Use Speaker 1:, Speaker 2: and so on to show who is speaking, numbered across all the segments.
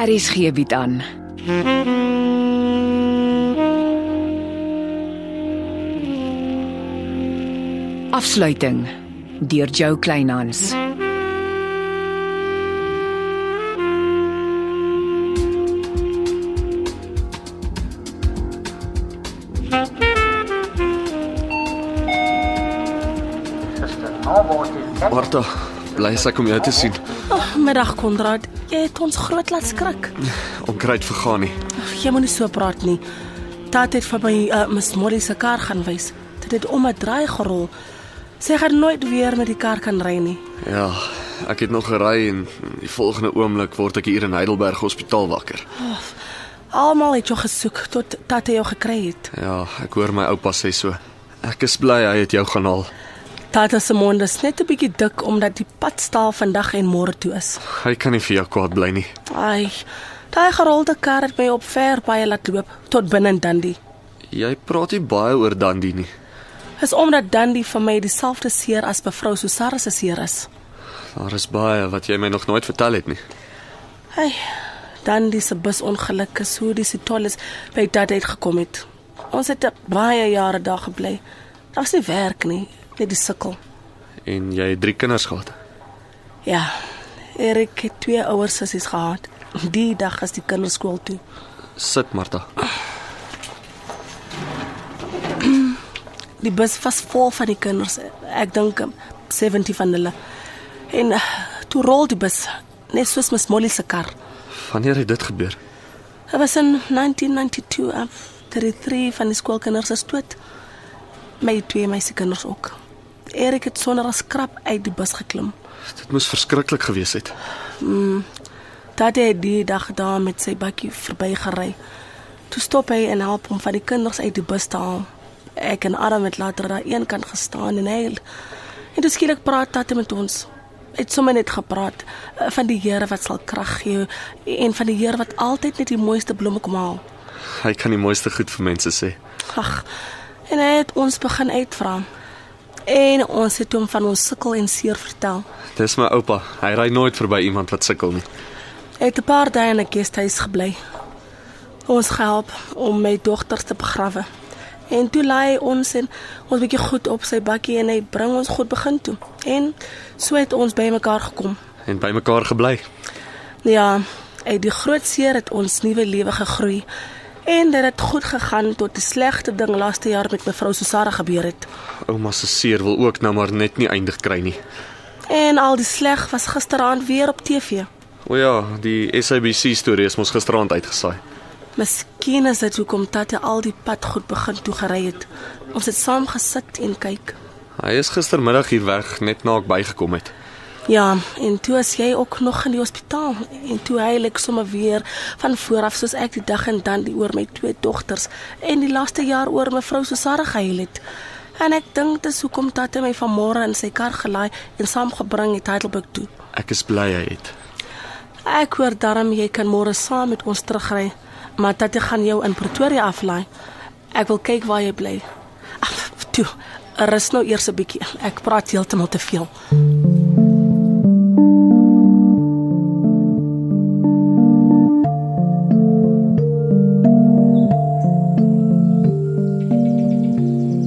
Speaker 1: RSG bied Er aan. Afsluiting deur Jo Kleinhans.
Speaker 2: Martha, bly as ek om jou te sien.
Speaker 3: Oh, middag Konrad. Jy het ons groot laat skrik.
Speaker 2: Onkruid vergaan nie.
Speaker 3: Ag, jy moenie so praat nie. Tat het vir my uh, Miss Molly se kar gaan wys. Dit het om 'n draai gerol. Sy gaan nooit weer met die kar kan ry nie.
Speaker 2: Ja, ek het nog gery en die volgende oomblik word ek hier in Heidelberg Hospitaal wakker.
Speaker 3: Almal het jou gesoek tot Tat jou gekry het.
Speaker 2: Ja, ek hoor my oupa sê so. Ek is bly hy het jou gaan haal.
Speaker 3: Tata se mond is net 'n bietjie dik omdat die padstaal vandag en môre toe is.
Speaker 2: Hy kan nie vir jou kwaad bly nie.
Speaker 3: Ai. Daai gerolde kar het my op ver baie laat loop tot binne in Dundee.
Speaker 2: Jy praat nie baie oor Dandi nie.
Speaker 3: Is omdat Dundee vir my dieselfde seer as mevrou Susara se seer is.
Speaker 2: Daar is baie wat jy my nog nooit vertel het nie.
Speaker 3: Hey, dan dis 'n busongeluk is hoe dis tolles by dat uit gekom het. Ons het 'n baie jare daar gebly. Daar was nie werk nie, net die sukkel.
Speaker 2: En jy het 3 kinders gehad.
Speaker 3: Ja. Erik het twee ouer sissies gehad. Die dag is die kinderskool toe.
Speaker 2: Sit, Martha.
Speaker 3: Die bus was vol van die kinders. Ek dink um, 70 van hulle. En uh, toe rol die bus net soos Miss Molly se kar.
Speaker 2: Wanneer het dit gebeur?
Speaker 3: Dit was in 1992 af 33 van die skoolkinders is dood. My twee meisiekinders ook. Erik het sonder 'n skrap uit die bus geklim.
Speaker 2: Dit moes verskriklik gewees het.
Speaker 3: Daddy het die dag daar met sy bakkie verbygery. Toe stop hy en help hom van die kinders uit die bus te haal. Ek en Adam het later daar een kant gestaan en hy en toe skielik praat Tatie met ons. Hy het sommer net gepraat eh, van die Here wat sal krag gee en van die Here wat altyd net die mooiste blomme kom haal.
Speaker 2: Hy kan die mooiste goed vir mense sê.
Speaker 3: Ag. En hy het ons begin uitvra. En ons het hom van ons sukkel en seer vertel.
Speaker 2: Dis my oupa. Hy ry nooit verby iemand wat sukkel nie.
Speaker 3: Hy het 'n paar dae in 'n guesthuis gebly. Ons gehelp om my dogters te begrawe. En toe laai hy ons en ons bietjie goed op sy bakkie en hy bring ons goed begin toe. En so het ons bymekaar gekom.
Speaker 2: En by mekaar gebly.
Speaker 3: Ja, uit die groot seer het ons nuwe lewe gegroei. En dit het goed gegaan tot die slegte ding laaste jaar met mevrou Susara gebeur het.
Speaker 2: Ouma se seer wil ook nou maar net nie eindig kry nie.
Speaker 3: En al die sleg was gisteraand weer op TV.
Speaker 2: O ja, die SABC storie is mos gisteraand uitgesaai.
Speaker 3: Miskien is dit hoekom Tatie al die pad goed begin toe gery het. Ons het saam gesit en kyk.
Speaker 2: Hy is gistermiddag hier weg net na ek bygekom het.
Speaker 3: Ja, en toe as jy ook nog in die hospitaal en toe heilig sommer weer van vooraf soos ek die dag en dan die oor my twee dogters en die laaste jaar oor mevrou Susara gehuil het. En ek dink dis hoekom Tatie my vanmôre in sy kar gelaai en saamgebring het Heidelberg toe.
Speaker 2: Ek is bly hy het.
Speaker 3: Ek hoor darm jy kan môre saam met ons terugry, maar tatie gaan jou in Pretoria aflaai. Ek wil kyk waar jy bly. Ag, Toe, rus nou eers 'n bietjie. Ek praat heeltemal te veel.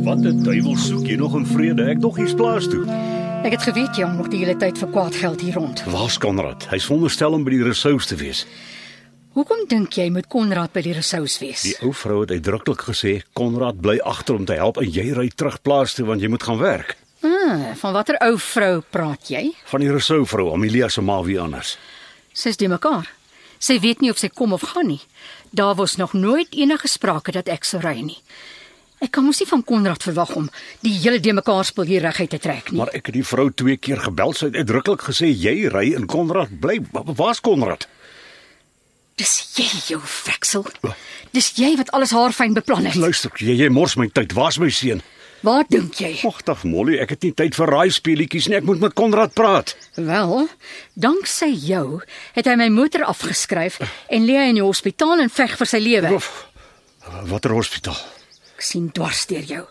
Speaker 4: Wat 'n duiwel soek jy nog in vrede? Ek dog hier's plaas toe.
Speaker 5: Ek het geweet jy maak die hele tyd vir kwaad geld hier rond.
Speaker 4: Waar's Konrad? Hy sonderstel om by die resous te wees.
Speaker 5: Hoekom dink jy moet Konrad by die resous wees?
Speaker 4: Die ou vrou het uitdruklik gesê Konrad bly agter om te help en jy ry terug plaas toe want jy moet gaan werk.
Speaker 5: Ah, van watter ou vrou praat jy?
Speaker 4: Van die resou vrou, Amelia se ma wie anders.
Speaker 5: Sy's die mekaar. Sy weet nie of sy kom of gaan nie. Daar was nog nooit enige sprake dat ek sou ry nie. Ek kan mos nie van Konrad verwag om die hele de mekaar spel hier reguit te trek nie.
Speaker 4: Maar ek het die vrou twee keer gebel, sy het uitdruklik gesê jy ry en Konrad bly. Wa- wa- Waar's Konrad?
Speaker 5: Dis jy jou veksel. Dis jy wat Nou- alles haar fyn beplan het.
Speaker 4: Luister, jy, jy mors my tyd. Waar's my seun?
Speaker 5: Waar dink jy?
Speaker 4: Magtig Molly, ek het nie tyd vir raai speletjies nie. Ek moet met Konrad praat.
Speaker 5: Wel, danksy jou het hy my motor afgeskryf en lê hy in die hospitaal en veg vir sy lewe.
Speaker 4: Of watter hospitaal?
Speaker 5: Ek sien dwars deur jou.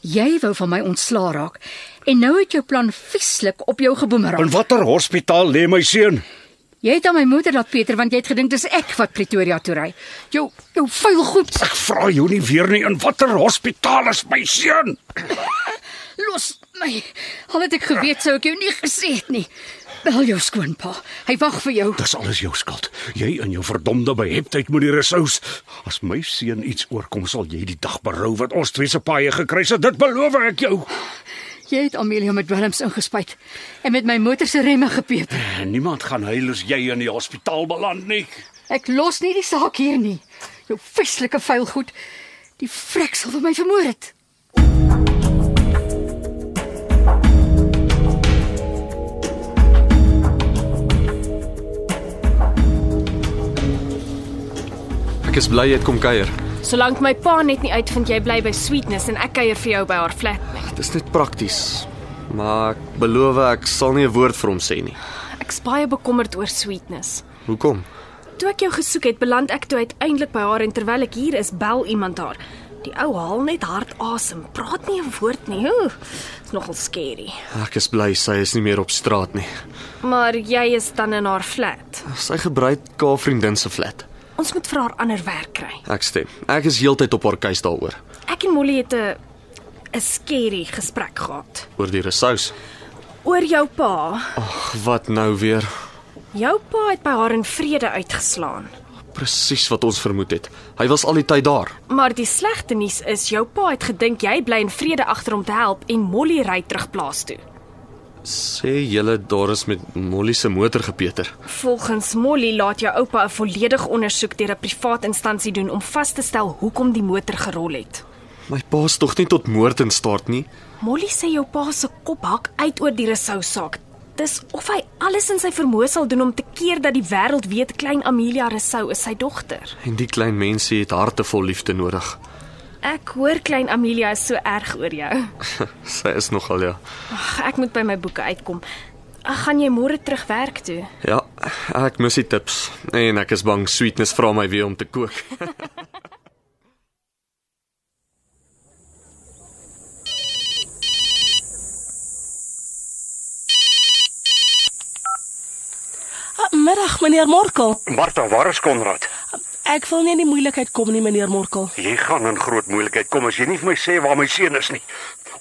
Speaker 5: Jy wou van my ontslaa raak en nou het jou plan vieslik op jou
Speaker 4: In
Speaker 5: geboemerang.
Speaker 4: watter hospitaal lê my seun?
Speaker 6: Jy het aan my moeder laat Pieter want jy het gedink dis ek wat Pretoria toe ry. Jou jou vuil goed.
Speaker 7: Ek vra jou nie weer nie in watter hospitaal is my seun?
Speaker 6: Los my. Al het ek geweet sou ek jou nie gesê het nie. Bel jou skoonpa. Hy wag vir jou.
Speaker 7: Dis alles jou skuld. Jy en jou verdomde beheptheid met die resous. As my seun iets oorkom, sal jy die dag berou wat ons twee se paaie gekry het. Dit beloof ek jou.
Speaker 6: Jy het Amelia met dwelms ingespuit en met my motor se remme gepeper.
Speaker 7: Eh, Niemand gaan huil as jy in die hospitaal beland nie.
Speaker 6: Ek los nie die saak hier nie. Jou vieslike vuil goed. Die vrek sal vir my vermoor het.
Speaker 2: Ek is bly jy het kom kuier.
Speaker 8: Solank my pa net nie uitvind jy bly by Sweetness en ek kuier vir jou by haar flat nie.
Speaker 2: Dit is net prakties. Maar ek beloof ek sal nie 'n woord vir hom sê nie.
Speaker 8: Ek's baie bekommerd oor Sweetness.
Speaker 2: Hoekom?
Speaker 8: Toe ek jou gesoek het, beland ek toe uiteindelik by haar en terwyl ek hier is, bel iemand haar. Die ou haal net hard asem, praat nie 'n woord nie. Ooh, is nogal skerry.
Speaker 2: Ek is bly sy is nie meer op straat nie.
Speaker 8: Maar jy is dan in haar flat.
Speaker 2: Sy gebruik haar vriendin se flat.
Speaker 8: Ons moet vir haar ander werk kry.
Speaker 2: Ek stem. Ek is heeltyd op haar keus daaroor,
Speaker 8: Ek en Molly het 'n 'n skerry gesprek gehad
Speaker 2: oor die resous.
Speaker 8: oor jou pa.
Speaker 2: Ag, wat nou weer?
Speaker 8: Jou pa het by haar in vrede uitgeslaan.
Speaker 2: Presies wat ons vermoed het. Hy was al die tyd daar.
Speaker 8: Maar die slegte nuus is jou pa het gedink jy bly in vrede agter hom te help en Molly ry terug plaas toe.
Speaker 2: Sê julle daar is met Molly se motor gepeter.
Speaker 8: Volgens Molly laat jou oupa 'n volledige ondersoek deur 'n privaat instansie doen om vas te stel hoekom die motor gerol het.
Speaker 2: My pa's tog nie tot moord in staat nie.
Speaker 8: Molly sê jou pa se kop hak uit oor die resou saak. Dis of hy alles in sy vermoë sal doen om te keer dat die wêreld weet klein Amelia Resou is sy dogter.
Speaker 2: En die klein mensie het harte vol liefde nodig.
Speaker 8: Ek hoor klein Amelia is so erg oor jou.
Speaker 2: Sy is nogal ja.
Speaker 8: Ag, ek moet by my boeke uitkom. Ag, gaan jy môre terug werk toe?
Speaker 2: Ja, ek mis die tips en ek is bang sweetness vra my weer om te kook.
Speaker 3: Ah, Middag meneer Morkel.
Speaker 4: Martha, waar is Konrad?
Speaker 3: Ek wil nie in die moeilikheid kom nie meneer Morkel.
Speaker 4: Jy gaan in groot moeilikheid kom as jy nie vir my sê waar my seun is nie.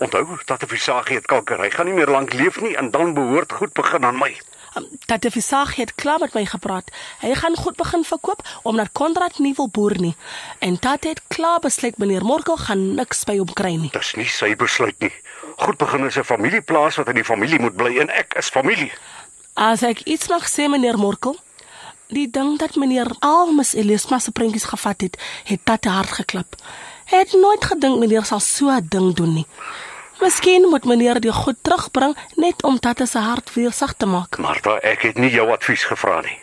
Speaker 4: Onthou dat 'n visagie het kanker. Hy gaan nie meer lank leef nie en dan behoort goed begin aan my.
Speaker 3: Um, Tate Visagie het klaar met my gepraat. Hy gaan goed begin verkoop omdat Konrad nie wil boer nie. En Tate het klaar besluit meneer Morkel gaan niks by hom kry nie.
Speaker 4: Dis nie sy besluit nie. Goed begin is 'n familieplaas wat in die familie moet bly en ek is familie.
Speaker 3: As ek iets mag sê meneer Morkel, die ding dat meneer Almes Elisma se prentjies gevat het, het Tate hard geklap. Hy het nooit gedink meneer sal so 'n ding doen nie. Miskien moet meneer die goed terugbring net om Tate se hart weer sag te maak.
Speaker 4: Martha, ek het nie jou advies gevra nie.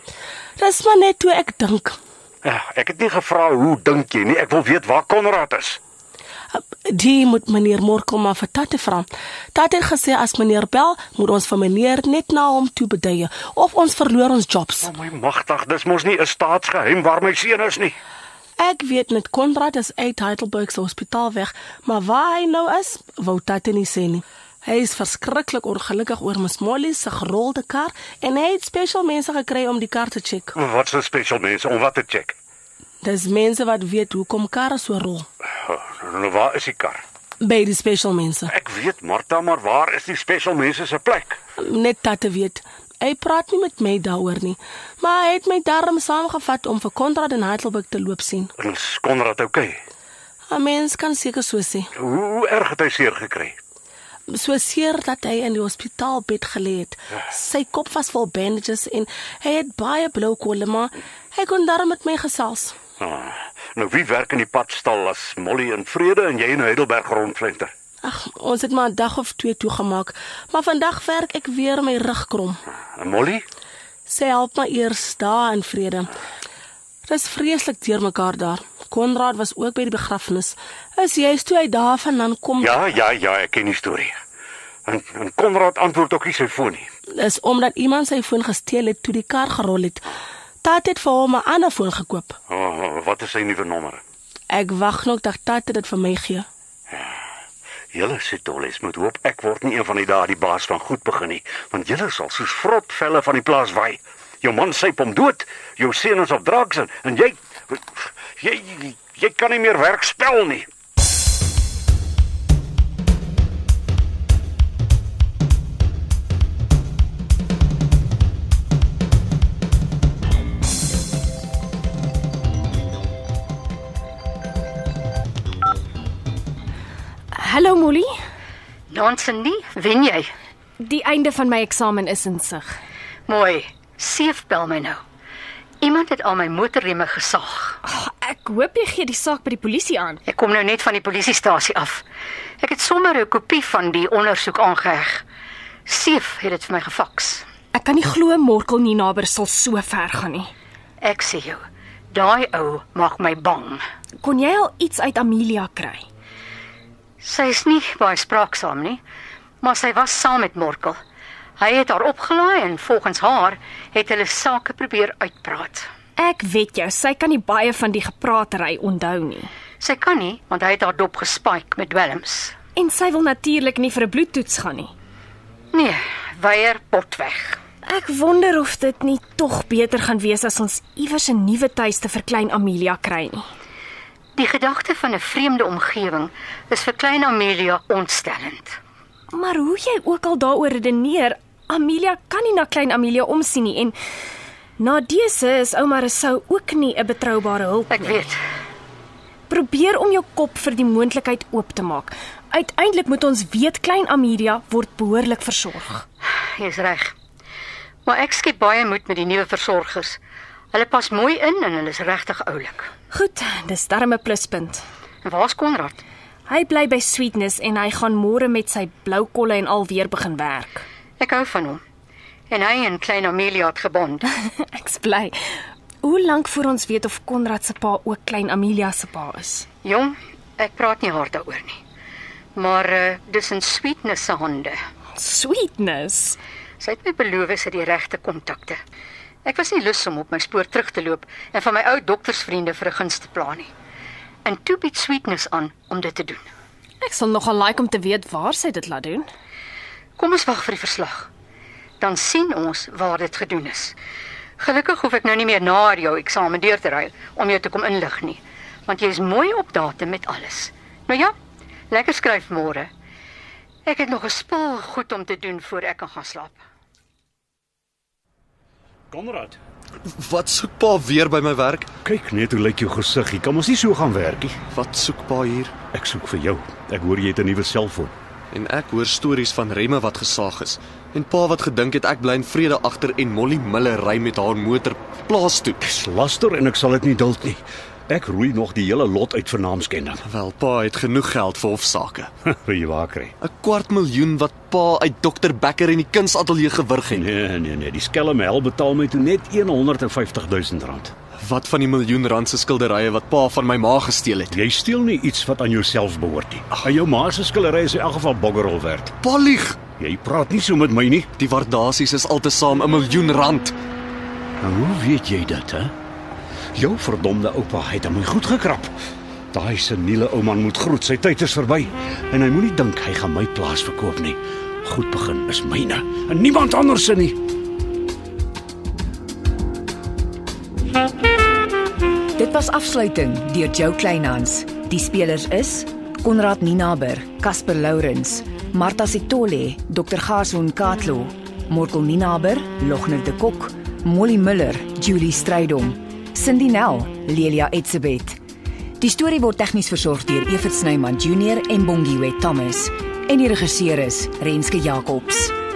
Speaker 3: Dis maar net hoe ek dink.
Speaker 4: Eh, Ek het nie gevra hoe dink jy nie. Ek wil weet waar Konrad is.
Speaker 3: Die moet meneer Morkel maar vir Tate vra. Tate het gesê as meneer bel, moet ons vir meneer net na hom toe beduie of ons verloor ons jobs.
Speaker 4: O my magtig, dis mos nie 'n staatsgeheim waar my seun is nie.
Speaker 3: Ek weet net Konrad is uit Heidelberg se hospitaal weg, maar waar hy nou is, wou Tate nie sê nie. Hy is verskriklik ongelukkig oor Ms Molly se gerolde kar en hy het spesiaal mense gekry om die kar te check.
Speaker 4: Wat 'n special mens om wat te check.
Speaker 3: Dis mense wat weet hoekom karre so rol.
Speaker 4: Oh, nou waar is die kar?
Speaker 3: By die spesiaal mense.
Speaker 4: Ek weet Martha, maar waar is die special mense se plek?
Speaker 3: Net Tate weet. Hy praat nie met my daaroor nie, maar hy het my darm saamgevat om vir Konrad in Heidelberg te loop sien.
Speaker 4: Is Konrad oukei? Okay?
Speaker 3: 'n Mens kan seker so sê.
Speaker 4: Hoe, hoe erg het hy seer gekry?
Speaker 3: So seer dat hy in die hospitaalbed gelê het. Sy kop was vol bandages en hy het baie blou kolle, maar hy kon darm met my gesels.
Speaker 4: Ah, nou wie werk in die padstal as Molly in vrede en jy in Heidelberg rondflenter?
Speaker 3: Ag, ons het maar 'n dag of twee toegemaak, maar vandag werk ek weer my rug krom.
Speaker 4: En Molly?
Speaker 3: Sy help my eers daar in vrede. Dis vreeslik deurmekaar daar. Konrad was ook by die begrafnis. Is jy toe hy daarvan dan kom?
Speaker 4: Ja, ja, ja, ek ken die storie. En, en Konrad antwoord ook nie sy foon nie.
Speaker 3: Dis omdat iemand sy foon gesteel het toe die kar gerol het. Tat het vir hom 'n ander foon gekoop.
Speaker 4: Oh, wat is sy nuwe nommer?
Speaker 3: Ek wag nog dat Tat dit vir my gee.
Speaker 4: Julle Sitoles moet hoop ek word nie een van die dae die baas van goed begin nie, want julle sal soos vrot velle van die plaas waai.
Speaker 9: Jou man syp hom dood. Jou seun is op draaks en, en jy jy jy kan nie meer werk spel nie.
Speaker 8: Hallo Molly.
Speaker 5: Dansen nie, wen jy.
Speaker 8: Die einde van my eksamen is in sig.
Speaker 5: Mooi. Seef bel my nou. Iemand het al my motorremme gesaag.
Speaker 8: Oh, ek hoop jy gee die saak by die polisie aan.
Speaker 5: Ek kom nou net van die polisiestasie af. Ek het sommer 'n kopie van die ondersoek aangeheg. Seef het dit vir my gefaks.
Speaker 8: Ek kan nie glo Morkel nie naby sal so ver gaan nie.
Speaker 5: Ek sê jou, daai ou maak my bang.
Speaker 8: Kon jy al iets uit Amelia kry?
Speaker 5: Sy is nie baie spraaksaam nie, maar sy was saam met Morkel. Hy het haar opgelaai en volgens haar het hulle sake probeer uitpraat.
Speaker 8: Ek weet jou, sy kan nie baie van die gepraatery onthou nie.
Speaker 5: Sy kan nie, want hy het haar dop gespike met dwelms.
Speaker 8: En sy wil natuurlik nie vir 'n bloedtoets gaan nie.
Speaker 5: Nee, weier pot weg.
Speaker 8: Ek wonder of dit nie tog beter gaan wees as ons iewers 'n nuwe tuiste vir klein Amelia kry nie.
Speaker 5: Die gedagte van 'n vreemde omgewing is vir klein Amelia ontstellend.
Speaker 8: Maar hoe jy ook al daaroor redeneer, Amelia kan nie na klein Amelia omsien nie en na dese is ouma Resou ook nie 'n betroubare hulp
Speaker 5: Ek
Speaker 8: nie.
Speaker 5: weet.
Speaker 8: Probeer om jou kop vir die moontlikheid oop te maak. Uiteindelik moet ons weet klein Amelia word behoorlik versorg.
Speaker 5: Jy's reg. Maar ek skep baie moed met die nuwe versorgers. Hulle pas mooi in en hulle is regtig oulik.
Speaker 8: Goed, dis darm 'n pluspunt.
Speaker 5: En waar's Konrad?
Speaker 8: Hy bly by Sweetness en hy gaan môre met sy blou kolle en alweer begin werk.
Speaker 5: Ek hou van hom. En hy en klein Amelia het gebond.
Speaker 8: Ek's bly. Hoe lank voor ons weet of Konrad se pa ook klein Amelia se pa is?
Speaker 5: Jong, ek praat nie hard daaroor nie. Maar uh, dis 'n sweetness se hande.
Speaker 8: Sweetness.
Speaker 5: Sy het my beloof sy het die regte kontakte. Ek was nie lus om op my spoor terug te loop en van my ou doktersvriende vir 'n guns te pla nie. En toe bied sweetness aan om dit te doen.
Speaker 8: Ek sal nogal like om te weet waar sy dit laat doen.
Speaker 5: Kom ons wag vir die verslag. Dan sien ons waar dit gedoen is. Gelukkig hoef ek nou nie meer na jou eksamen deur te ry om jou te kom inlig nie, want jy is mooi op datum met alles. Nou ja, lekker skryf môre. Ek het nog 'n spul goed om te doen voor ek kan gaan slaap.
Speaker 4: Konrad,
Speaker 2: Wat soek pa weer by my werk?
Speaker 4: kyk net hoe lyk jou gesig. Jy kan mos nie so gaan werk nie.
Speaker 2: Wat soek pa hier?
Speaker 4: Ek soek vir jou. Ek hoor jy het 'n nuwe selfoon.
Speaker 2: En ek hoor stories van remme wat gesaag is. En pa wat gedink het ek bly in vrede agter en Molly Miller ry met haar motor plaas toe.
Speaker 4: Dis laster en ek sal dit nie duld nie. Ek roei nog die hele lot uit vir naamskending.
Speaker 2: Wel, pa het genoeg geld vir hofsaake.
Speaker 4: Wil jy waar kry?
Speaker 2: 'n Kwart miljoen wat pa uit Dr Becker in die kunsateljee gewurg het.
Speaker 4: Nee, nee, nee, die skelm hel betaal my toe net 150 000 rand.
Speaker 2: Wat van die miljoen rand se skilderye wat pa van my ma gesteel het?
Speaker 4: Jy steel nie iets wat aan jouself behoort nie. Aan jou ma se skillery is in elk geval boggerol werd.
Speaker 2: Pa lieg.
Speaker 4: Jy praat nie so met my nie.
Speaker 2: Die waardasies is altesaam 'n miljoen rand.
Speaker 4: Nou hoe weet jy dit, hè? Jou verdomde oupa het aan my goed gekrap. Daai seniele ou man moet groet, sy tyd is verby en hy moenie dink hy gaan my plaas verkoop nie. Goed begin is myne en niemand anders se nie.
Speaker 1: Dit was afsluiting deur Jo Kleinhans. Die spelers is Konrad Ninaber, Casper Lourens, Martha Sitole, Dr. Gason Katlo, Morkel Ninaber, Logner de Kok, Molly Miller, Julie Strydom, Cindy Nel, Lelia Etsebet. Die storie word tegnies versorg deur Evert Snyman Junior en Bongwe Thomas en die regisseur is Renske Jacobs.